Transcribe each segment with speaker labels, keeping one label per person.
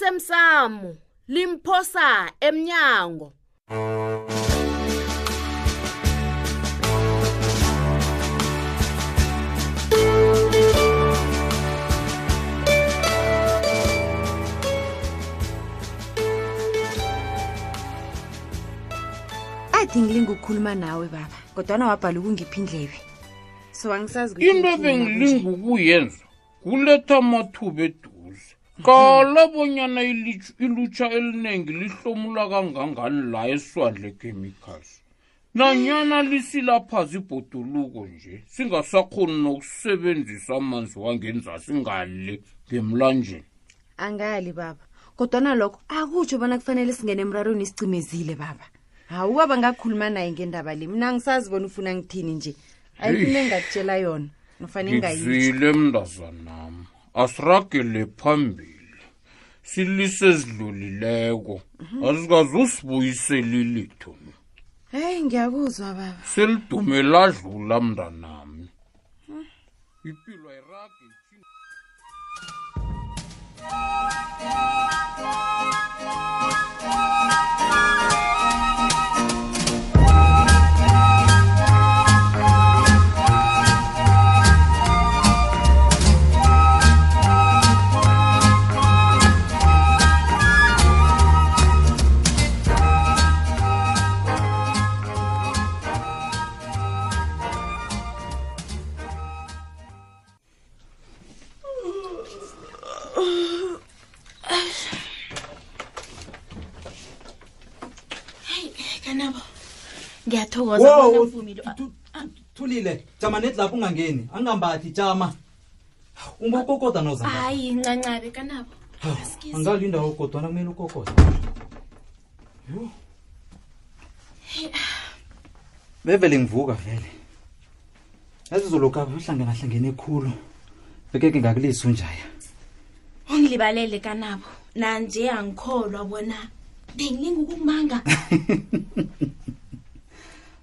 Speaker 1: osemsamo limphosa emnyango
Speaker 2: athi ngilinga ukukhuluma nawe baba kodwana wabhala ukungiphi indlebe so angisazi ukuthi
Speaker 3: into
Speaker 2: ngithini
Speaker 3: bengilinga ukuyenza kuletha amathuba eduze qala bonyana ilitsh- ilutsha eliningi lihlomula kangangani la eswandle chemicals nanyana lisilaphazi ibhoduluko nje singasakhoni nokusebenzisa amanzi wangenzasi ngale ngemlanjeni
Speaker 2: nje. angali baba kodwana lokho akutsho bona kufanele singene emrarweni isicimezile baba hawu ubaba ngakhuluma naye ngendaba le mina angisazi bona ufuna ngithini nje ayikune engakutshela yona nofanele ngayitsho
Speaker 3: ngizile mntazanam asiragele phambili silise ezidlulileko asikaze usibuyiseli litho mina
Speaker 2: heyi ngiyakuzwa baba
Speaker 3: selidume ladlula mntanami ipilo ayiragi
Speaker 4: kanabo
Speaker 5: Wo, wo,
Speaker 4: ngiyathokozamfumile
Speaker 5: thu- thu- thulile jama neti lapho ungangeni angambathi jama ungokokoda noza
Speaker 4: hayi ncancabe kanabo asikizi.
Speaker 5: angalinda ugodwana kumele ukokoda Yho. bevele ngivuka vele yazizolokha uhlangenahlangene khulu beke ke ngakulisa unjaya
Speaker 4: ungilibalele kanabo nanje angikholwa bona bengilinga ukukumanga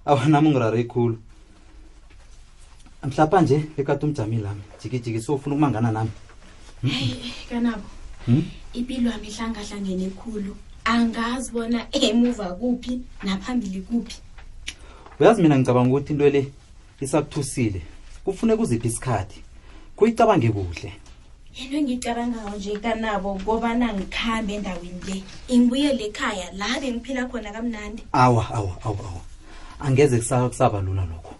Speaker 5: awanami ngirare khulu mhlapha nje bekade umjamile ami jikijiki sofuna ukumangana nami
Speaker 4: heyi kanabo
Speaker 5: Hmm?
Speaker 4: impilo yami ihlangahlangene khulu angazi bona emuva kuphi naphambili kuphi
Speaker 5: uyazi mina ngicabanga ukuthi into le isakuthusile kufuneka uziphi isikhathi kuyicabange kuhle
Speaker 4: into engiyicabangako nje kanabo kobana ngikhambe endaweni le ngibuyele ekhaya la bengiphila khona kamnandi
Speaker 5: awa awa awa awa angeze kusa- kusaba lula lokho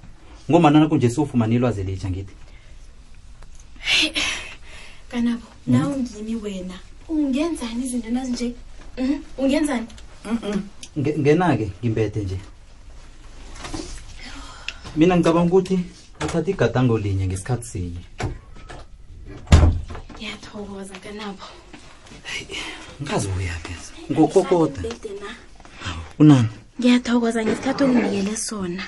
Speaker 5: ngombana nakunje siwufumane ilwazi elitsha ngithi
Speaker 4: kanabo nawe ngimi wena ungenzani izinto nazinje Mhm, ungenzani
Speaker 5: Nge- ngena-ke ngimbethe nje mina ngicabanga ukuthi uthatha igadango linye ngesikhathi sinye
Speaker 4: ngiyathokoza kanabo
Speaker 5: ngikazi uyageza ngokokoda
Speaker 4: Bede na.
Speaker 5: unani
Speaker 4: ngiyathokoza ngesikhathi onginikele sona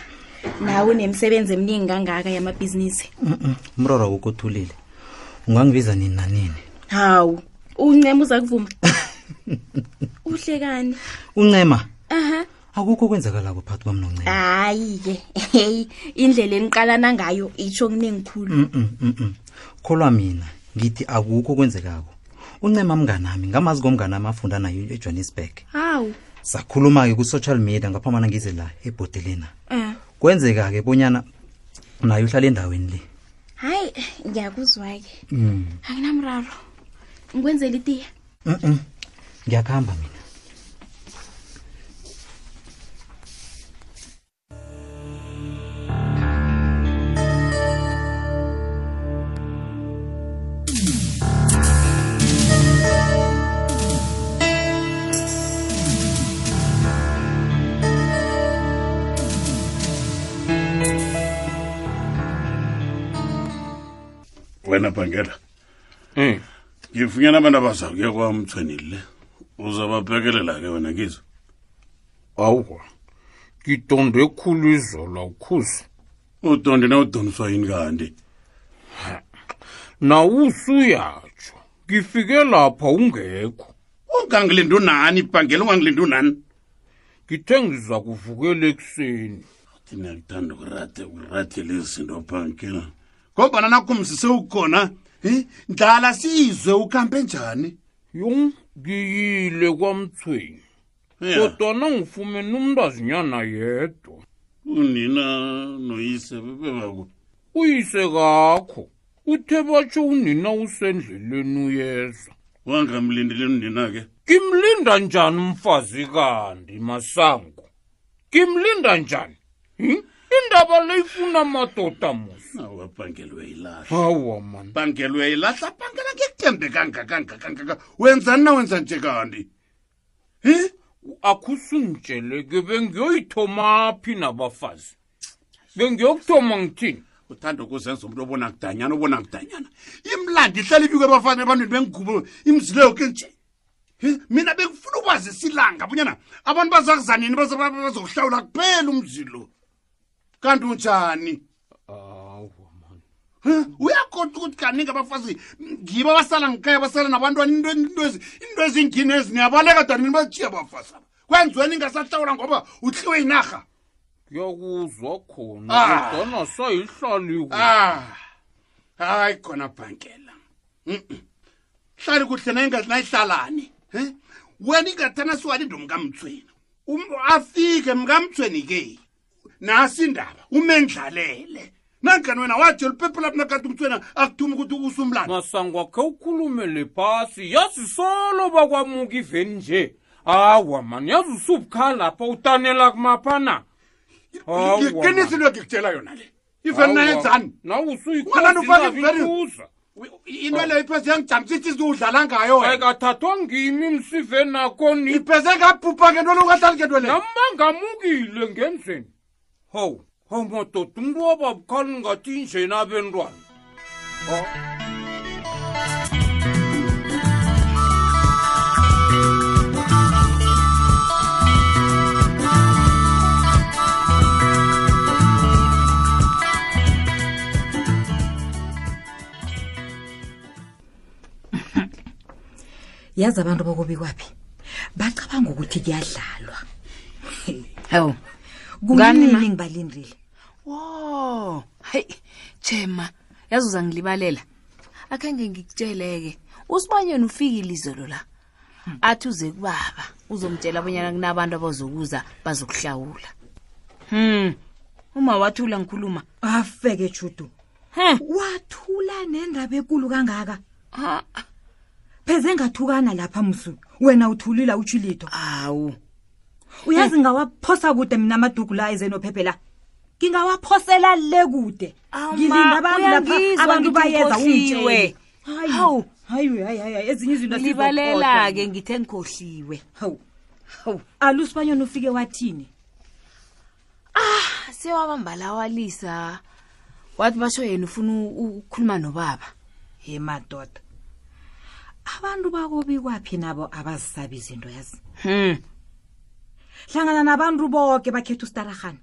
Speaker 4: nawe unemsebenzi eminingi kangaka yamabhizinisi
Speaker 5: umrora wokothulile ungangibiza nini nanini
Speaker 4: hawu uncema uza kuvuma uhle kani
Speaker 5: uncema
Speaker 4: aha
Speaker 5: akukho okwenzakalako phakathi kwami noncema
Speaker 4: hayi-ke heyi indlela eniqalana ngayo itsho kuningikhulu
Speaker 5: Mm, mm, mm. kholwa mina ngithi akukho okwenzekako uncema mnganami ngamazi komnganami afunda nayo ejohannesburg
Speaker 4: hawu
Speaker 5: sakhuluma-ke ku-social media ngaphambana ngize la ebhodelena
Speaker 4: um
Speaker 5: kwenzeka-ke bonyana nayo uhlala endaweni le
Speaker 4: hayi ngiyakuzwa-ke
Speaker 5: Mm,
Speaker 4: akunamraro ngikwenzela itiya
Speaker 5: mm, mm. ngiyakuhamba mina
Speaker 6: wena bhangela
Speaker 3: um
Speaker 6: ngifunyana abantu abazakuya kwamthweni le uzababhekelela ke wena kizo
Speaker 3: awuwa ngidonde khulu izola ukhuzi
Speaker 6: udondi nawudoniswa yini kanti
Speaker 3: nawusuyatsho ngifike lapha ungekho
Speaker 6: ungangilindi unani bhangela ungangilindi unani
Speaker 3: ngithe ngiza kuvukela ekuseni
Speaker 6: thina kuthanda ukurate ukurate lezi zinto bhangela ngombana nakumsise ukhona um ndlala sizwe ukuhambe njani
Speaker 3: yo ngiyile kwamthweni
Speaker 6: Ya,
Speaker 3: kodwana ngifumene umntazinyana yedwa
Speaker 6: unina noyise bebebakuphi
Speaker 3: uyise kakho uthe batsho unina usendleleni uyeza
Speaker 6: wangamlindeli unina ke
Speaker 3: kimlinda njani umfazi kandi masango kimlinda njani Hmm? indaba leyifuna madoda musa
Speaker 6: awabhangelwe yilahla
Speaker 3: hawa mani
Speaker 6: bhangelwe yilahla bhangela ngekuthembe kangakangakangaka wenzani na wenza nje kanti hi
Speaker 3: akusungitsheleke bengiyoyithoma phi nabafazi bengiyokuthoma ngithini
Speaker 6: uthanda ukuzenza umntu obona kudanyana obona kudanyana imlandi ihlala ibikwe abafana ebantwini bengigubo imzile yoke nje Hi, mina bengifuna ukwazisa ilanga bunyana abantu bazakuzanini bazokuhlawula kuphela umzilo kanti unjani
Speaker 3: hawa mani
Speaker 6: Huh? uyakhoda ukuthi kaningi abafazi ngibo abasala ngikhaya basala nabantwana into- into ezi- into ezingini eziniyabaleka danini bajiya abafazi aba kwenziweni ngasahlawula ngoba utliwe yinarha
Speaker 3: ngiyakuzwa khona
Speaker 6: Ah.
Speaker 3: kodwana sayihlaliwe
Speaker 6: ah hayi khona bhankela Mm-mm. hlali kuhle nayihlalani he wena ingathana siwani ndomkamthweni afike mkamthweni ke nasi indaba umendlalele nangani wena watsho liphephulaphi nakati umthweni akuthuma ukuthi usumlana
Speaker 3: masango akhe ukhulumele phasi yazi solo bakwamuka iveni nje hawa mani yazi usubukha lapha utanela kumaphana Hawa,
Speaker 6: iqinisi
Speaker 3: man.
Speaker 6: into ngikutshela yona le iveni nayenzani
Speaker 3: nawe
Speaker 6: Ngwanani ufake iveni.
Speaker 3: usuyikhosinavikuza
Speaker 6: into leyo ipheze yangijamisa ithizi udlala ngayo wena
Speaker 3: ayikathathwa ngimi msiveni akoni
Speaker 6: ipheze ngabhubha ngento lokungahlali ngento leyo
Speaker 3: namangamukile ngendlini hawu hawu madoda umntu wababukhali ngathi injeni abentwana
Speaker 7: yazi abantu bakobikwaphi bacabanga ukuthi kuyadlalwa
Speaker 8: hawu Ngani, ma?
Speaker 7: kumini ngibalindile
Speaker 8: wo hayi jema yazi uzangilibalela akhange ngikutsheleke usibanyeni ufikile izolo la athi uze kubaba uzomtshela abonyana kunabantu abazokuza bazokuhlawula hmm uma wathula ngikhuluma
Speaker 7: afeke judu
Speaker 8: He.
Speaker 7: wathula nendaba enkulu kangaka
Speaker 8: Ah,
Speaker 7: pheze ngathukana lapha msu wena uthulila utshulito
Speaker 8: awu Eh.
Speaker 7: uyazi ngawaphosa kude mina amadugu la ezenophephe la ngingawaphosela le kude
Speaker 8: Ama,
Speaker 7: ngilinda abantu
Speaker 8: uyangizwa
Speaker 7: lapha abantu
Speaker 8: ngithi
Speaker 7: bayeza
Speaker 8: ukhohliwe.
Speaker 7: ungitshele
Speaker 8: Hawu.
Speaker 7: hawu hayi hayi hayi ezinye izinto
Speaker 8: libalela-ke ngithe ngikhohliwe
Speaker 7: hawu hawu alusibanyoni ufike wathini
Speaker 8: sewabambalawalisa wathi basho yena ufuna u- u- ukukhuluma nobaba
Speaker 7: ye madoda abantu bakobikwaphi nabo abazisabi izinto yazi
Speaker 8: hmm
Speaker 7: hlangana nabantu boke bakhetha ustaragana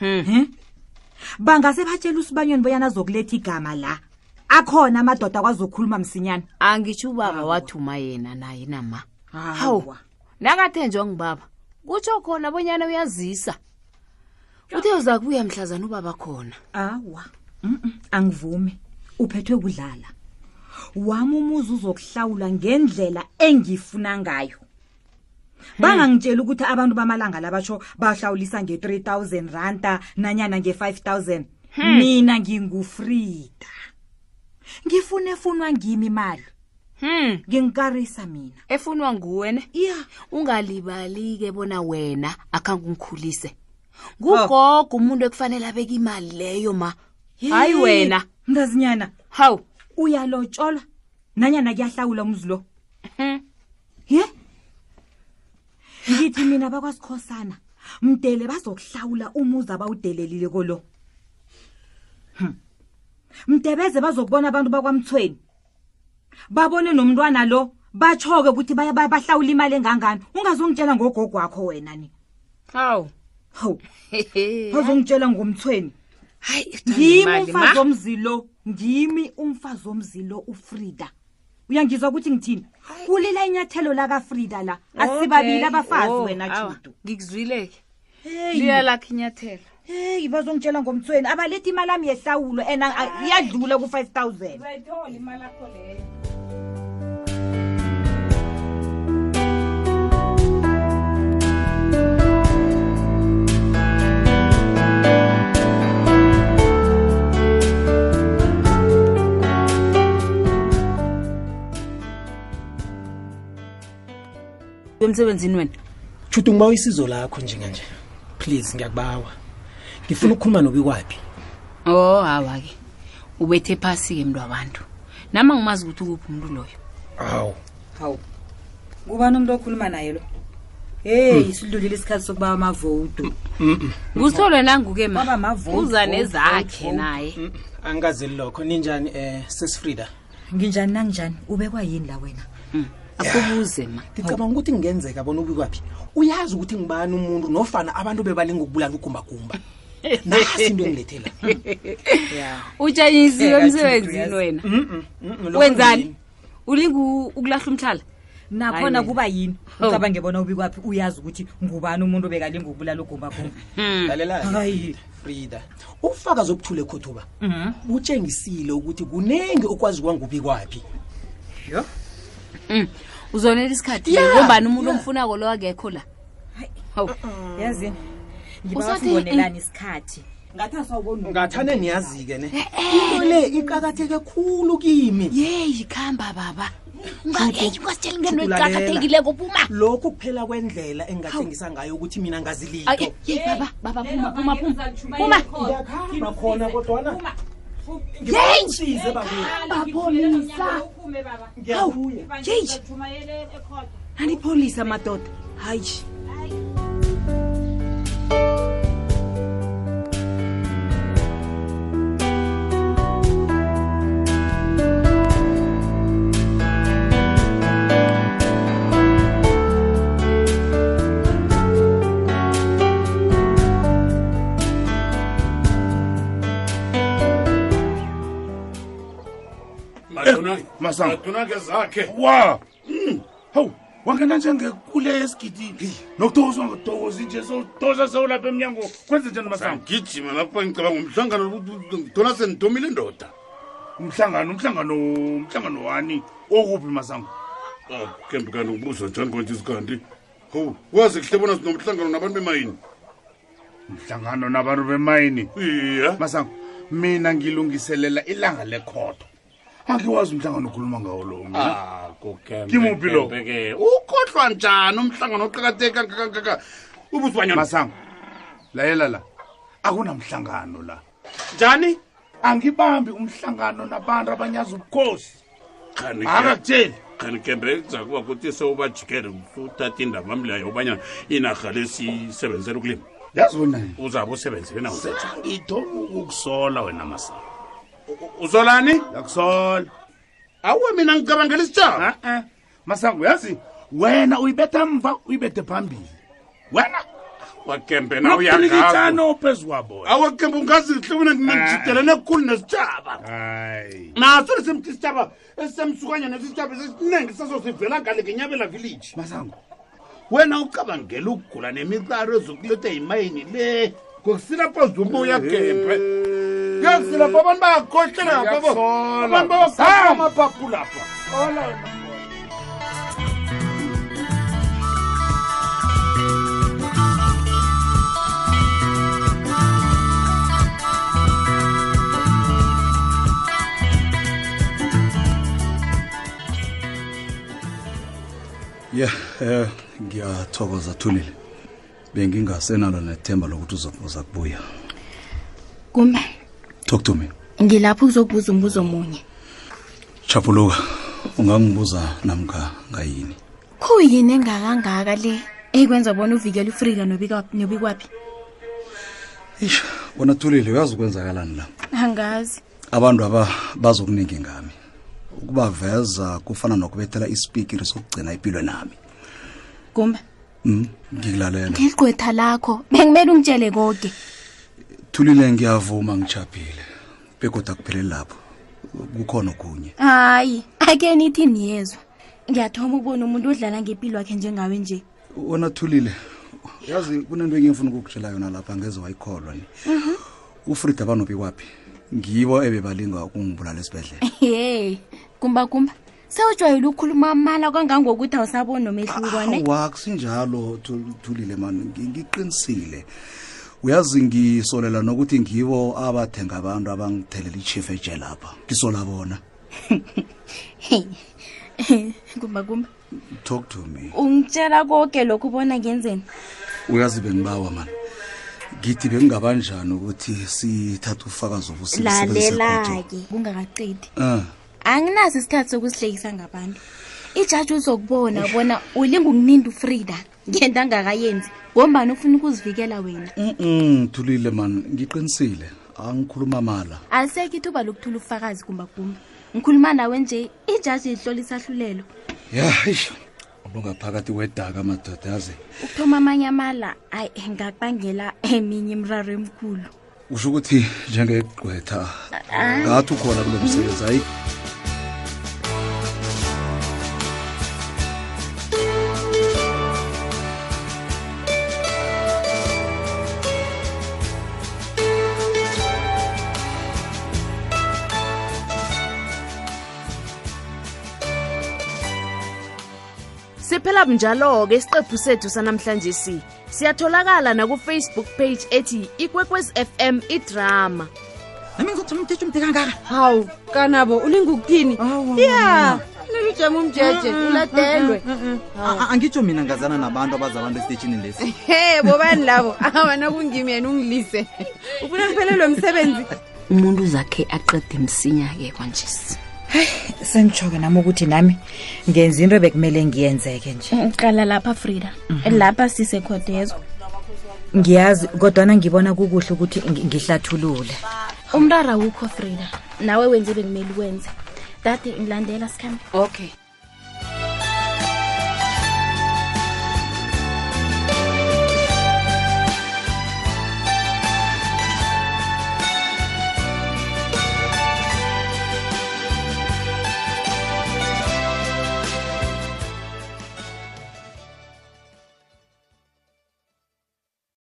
Speaker 8: Hmm.
Speaker 7: bangase batshela usibanyoni boyana azokuletha igama la akhona amadoda akwazokhuluma msinyana
Speaker 8: angitsho ubaba wathuma yena naye nama
Speaker 7: hawu
Speaker 8: nakathenjwa ngibaba kutsho khona bonyana uyazisa uthe uza kubuya mhlazana ubaba khona
Speaker 7: awa Mm-mm, angivumi uphethwe kudlala wami umuzi uzokuhlawula ngendlela engifuna ngayo bangangitshela ukuthi abantu bamalanga labatsho bahlawulisa nge-3 000 randa nanyana nge-5 000 mina ngingufrida ngifunefunwa ngimi imali
Speaker 8: hmm
Speaker 7: ngingikarisa mina
Speaker 8: efunwa nguwene
Speaker 7: iya
Speaker 8: ungalibali-ke bona wena akhange ungikhulise ngugogo umuntu ekufanele abeka imali leyo ma hayi wena
Speaker 7: mntazinyana
Speaker 8: hawu
Speaker 7: uyalotsholwa nanyana kuyahlawula umzi lo
Speaker 8: Mhm.
Speaker 7: ye ngithi mina bakwasikhosana mdele bazokuhlawula umuzi abawudelelile kolo Hm. mdebeze bazokubona abantu bakwamthweni babone nomntwana lo batsho-ke ukuthi baya- baya- bahlawula imali engangani ungazongitshela ngogogo wakho wena ni
Speaker 8: hawu
Speaker 7: hawu
Speaker 8: Hehe.
Speaker 7: bazongitshela ngomthweni
Speaker 8: hayi
Speaker 7: ngimi umfazi omzilo ngimi umfazi omzilo ufrida uyangizwa ukuthi ngithini kulila inyathelo lakafrida la asibabili abafazi
Speaker 8: Oh,
Speaker 7: wena judu
Speaker 8: ngikuzwileke
Speaker 7: Hey,
Speaker 8: liyalakha inyathelo
Speaker 7: hey bazongitshela ngomthweni abalethi imali ami yehlawulo and iyadlula ku-five thousand
Speaker 4: bayithola imali akho leyo
Speaker 2: emsebenzini wena
Speaker 8: shuthi ngiba isizo lakho njenganje please ngiyakubawa ngifuna ukukhuluma nobikwaphi
Speaker 2: oh hawa-ke ubethe phasi-ke mntu abantu nama ngimazi ukuthi ukuphi umuntu loyo
Speaker 8: awu
Speaker 7: hawu kubani umuntu okhuluma naye lo
Speaker 2: Hmm.
Speaker 7: heyi sidlulile isikhathi sokuba amavoto
Speaker 2: kutholwe nangu-ke
Speaker 7: Baba,
Speaker 2: ma
Speaker 7: ma-vote,
Speaker 2: Hmm. uza
Speaker 7: vote,
Speaker 2: nezakhe
Speaker 7: vote,
Speaker 2: naye
Speaker 8: angikazeli lokho ninjani um sesifrida
Speaker 7: nginjani nanginjani ubekwa yini la wena
Speaker 2: akubuze ma
Speaker 8: ngicabanga ukuthi kungenzeka bona ubikwaphi uyazi ukuthi ngibani umuntu nofana abantu bebalinga ukubulala ugumbagumba nasi into engilethela
Speaker 2: utshanyisiwe
Speaker 7: Eh,
Speaker 2: emsebenzini
Speaker 7: yazi.
Speaker 2: wena wenzani ulinga u- ukulahla umhlala
Speaker 7: nakhona
Speaker 2: Hayi
Speaker 7: kuba yini
Speaker 2: Oh.
Speaker 7: ucabange bona ubikwaphi uyazi ukuthi ngubani umuntu obekalinga ukubulala ugumbagumba
Speaker 8: Mm.
Speaker 7: Hayi.
Speaker 8: lalelafrida ufaka zobuthule ekhothuba butshengisile ukuthi kunengi okwazi kwangubikwaphi
Speaker 2: Mm. uzonela isikhathi
Speaker 8: Yeah,
Speaker 2: ngombani umuntu
Speaker 8: yeah.
Speaker 2: omfunako lo akekho la hawu
Speaker 7: yazini
Speaker 2: Usathi-
Speaker 7: ngibabonelani isikhathi ngathi asawuboni
Speaker 8: ngathane niyazi-ke ne into le iqakatheke khulu kimi
Speaker 2: yeyi khamba baba ungangeki kwasitshela ngento
Speaker 8: Thukulalela.
Speaker 2: eqakathekileko puma
Speaker 8: lokhu kuphela kwendlela engingathengisa ngayo ukuthi mina ngazilito
Speaker 2: Ay, yeyi baba baba puma puma puma puma
Speaker 8: ngiyakhamba khona kodwana ngisize
Speaker 2: bapholisa
Speaker 8: ngiyakuya
Speaker 9: jeyi nanipholisa madoda hayi
Speaker 10: Eh, Masango.
Speaker 6: madonake zakhe
Speaker 10: wa Hmm. hawu wangena njengekule esigidini nokutokoswa ngotokozi nje sowutosa sewulapha emnyango kwenze njani masango
Speaker 6: gijima lapha ngicabanga umhlangano dona sendidomile indoda
Speaker 10: umhlangano umhlangano umhlangano wani okuphi masango
Speaker 6: kembi kanti ngibuza njani konje isikanti ho wazi kuhle bona sinomhlangano nabantu bemayini
Speaker 10: mhlangano nabantu bemayini
Speaker 6: iya
Speaker 10: masango mina ngilungiselela ilanga lekhodo angiwazi umhlangano okhuluma ngawo lo mina Kimuphi lo?
Speaker 6: Ah, ke ukhohlwa njani umhlangano oqakatheke kangaka kangaka? ubusibanyana
Speaker 10: masango lalela la akunamhlangano la
Speaker 6: njani
Speaker 10: angibambi umhlangano nabantu abanyaza ubukhosi
Speaker 6: Khani ke-
Speaker 10: akakutsheli
Speaker 6: khani kembe kuzakuba kuthi sewubajikele uthatha indaba mleyo yobanyana inarha lesiyisebenzela ukulima
Speaker 10: yazibona
Speaker 6: uzabe usebenzele nawo
Speaker 10: ngithoma ukukusola wena masango
Speaker 6: uzolani
Speaker 10: yakusola
Speaker 6: awuwe mina ngicabangela isitshaba
Speaker 10: a-a masango uyazi wena uyibetha mva uyibethe phambili wena
Speaker 6: wakembe naw
Speaker 10: uyaitshano phezu kwabo
Speaker 6: awakembe ungazihlubuna ngijidelene kukhulu nesitshaba
Speaker 10: hayi
Speaker 6: naso lesemthi isitshaba esisemsukanya nesitshaba sesiningi saso sivela ngale ngenyabela village
Speaker 10: masango
Speaker 6: wena ucabangela ukugula nemiqaro ezokuletha yimayini le ngokusilapha zumbuya
Speaker 3: Eh.
Speaker 6: gembe kuyasilapha abantu bayakhohlela ngapha abantu bayakhohlela amaphaphu lapha
Speaker 5: ya eh ngiyathokoza thulile bengingasenalo nethemba lokuthi uzo- uza kubuya
Speaker 4: kumbe
Speaker 5: talk to me
Speaker 4: ngilapho ukuzokubuza umbuzo omunye
Speaker 5: chapuluka ungangibuza namka ngayini
Speaker 4: khuyini engakangaka le ekwenza bona uvikele ufrida nobikwaphi
Speaker 5: ish wona thulile uyazi ukwenzakalani la
Speaker 4: angazi
Speaker 5: abantu aba bazokuningi ngami ukubaveza kufana nokubethela isipikiri sokugcina impilo nami
Speaker 4: kumbe
Speaker 5: mm, ngikulalela
Speaker 4: ngeligqwetha lakho bengimele ungitshele koke
Speaker 5: thulile ngiyavuma ngichaphile begoda kupheleli lapho kukhona okunye
Speaker 4: hayi ake nithi niyezwa ngiyathoma ukubona umuntu odlala ngempilo wakhe njengawe nje
Speaker 5: wona thulile yazi kunento engiyengifuna ukukutshela yona lapha angeze wayikholwa ni
Speaker 11: Mhm.
Speaker 5: ufrida banobi kwaphi ngibo ebebalinga ukungibulala esibhedlela
Speaker 4: ye kumba kumba sewujwayele ukukhuluma amala kangangokuthi awusaboni nomehluko ne
Speaker 5: Ah, awa kusinjalo Thu- thulile mani ngi- ngiqinisile uyazi ngisolela nokuthi ngibo abathenga abantu abangithelela ichief eje lapha ngisola bona
Speaker 4: kumba kumba
Speaker 5: talk to me
Speaker 4: ungitshela konke lokhu ubona ngenzeni
Speaker 5: uyazi bengibawa mani ngithi bengingabanjani ukuthi sithathe ufakazi
Speaker 4: lalela-ke kungakaqedi
Speaker 5: um
Speaker 4: anginaso isikhathi sokusihlekisa ngabantu ijaji uzokubona bona ulinga ukuninda ufrida ngento angakayenzi ngombani ufuna ukuzivikela wena
Speaker 5: mm thulile mani ngiqinisile angikhuluma mala
Speaker 4: aliseki ithuba lokuthula ubufakazi kumbagumba ngikhuluma nawe nje ijaji lihlolisahlulelo
Speaker 5: ya eish, ulungaphakathi wedaka madoda yazi
Speaker 4: ukuthoma amanye amala ayi ngakubangela eminye imraro emkhulu
Speaker 5: usho ukuthi njengegqwetha
Speaker 4: Ah.
Speaker 5: ngathi ukhona kulo msebenzi hayi
Speaker 12: siphela bunjalo-ke isiqephu sethu sanamhlanje si siyatholakala nakufacebook page ethi ikwekwez fm idrama
Speaker 7: nami ngizothi umtitsha umde kangaka
Speaker 2: hawu kanabo ulinga ukuthini ya nilujama umjeje uladelwe
Speaker 11: angitsho mina ngazana nabantu abaza abantu esiteshini lesi
Speaker 2: he bobani labo awana kungimi yena ungilise ufuna ngiphelelwe msebenzi
Speaker 13: umuntu zakhe aqede msinya-ke kwanjesi
Speaker 7: sengitsho-ke nami ukuthi nami ngenza into bekumele ngiyenzeke nje
Speaker 4: uqala lapha frida lapha sisekhodezo
Speaker 7: ngiyazi kodwana ngibona kukuhle ukuthi ngi- ngihlathulule
Speaker 4: umrara wukho frida nawe wenze bekumele uwenze dade ngilandela sikhambe
Speaker 13: okay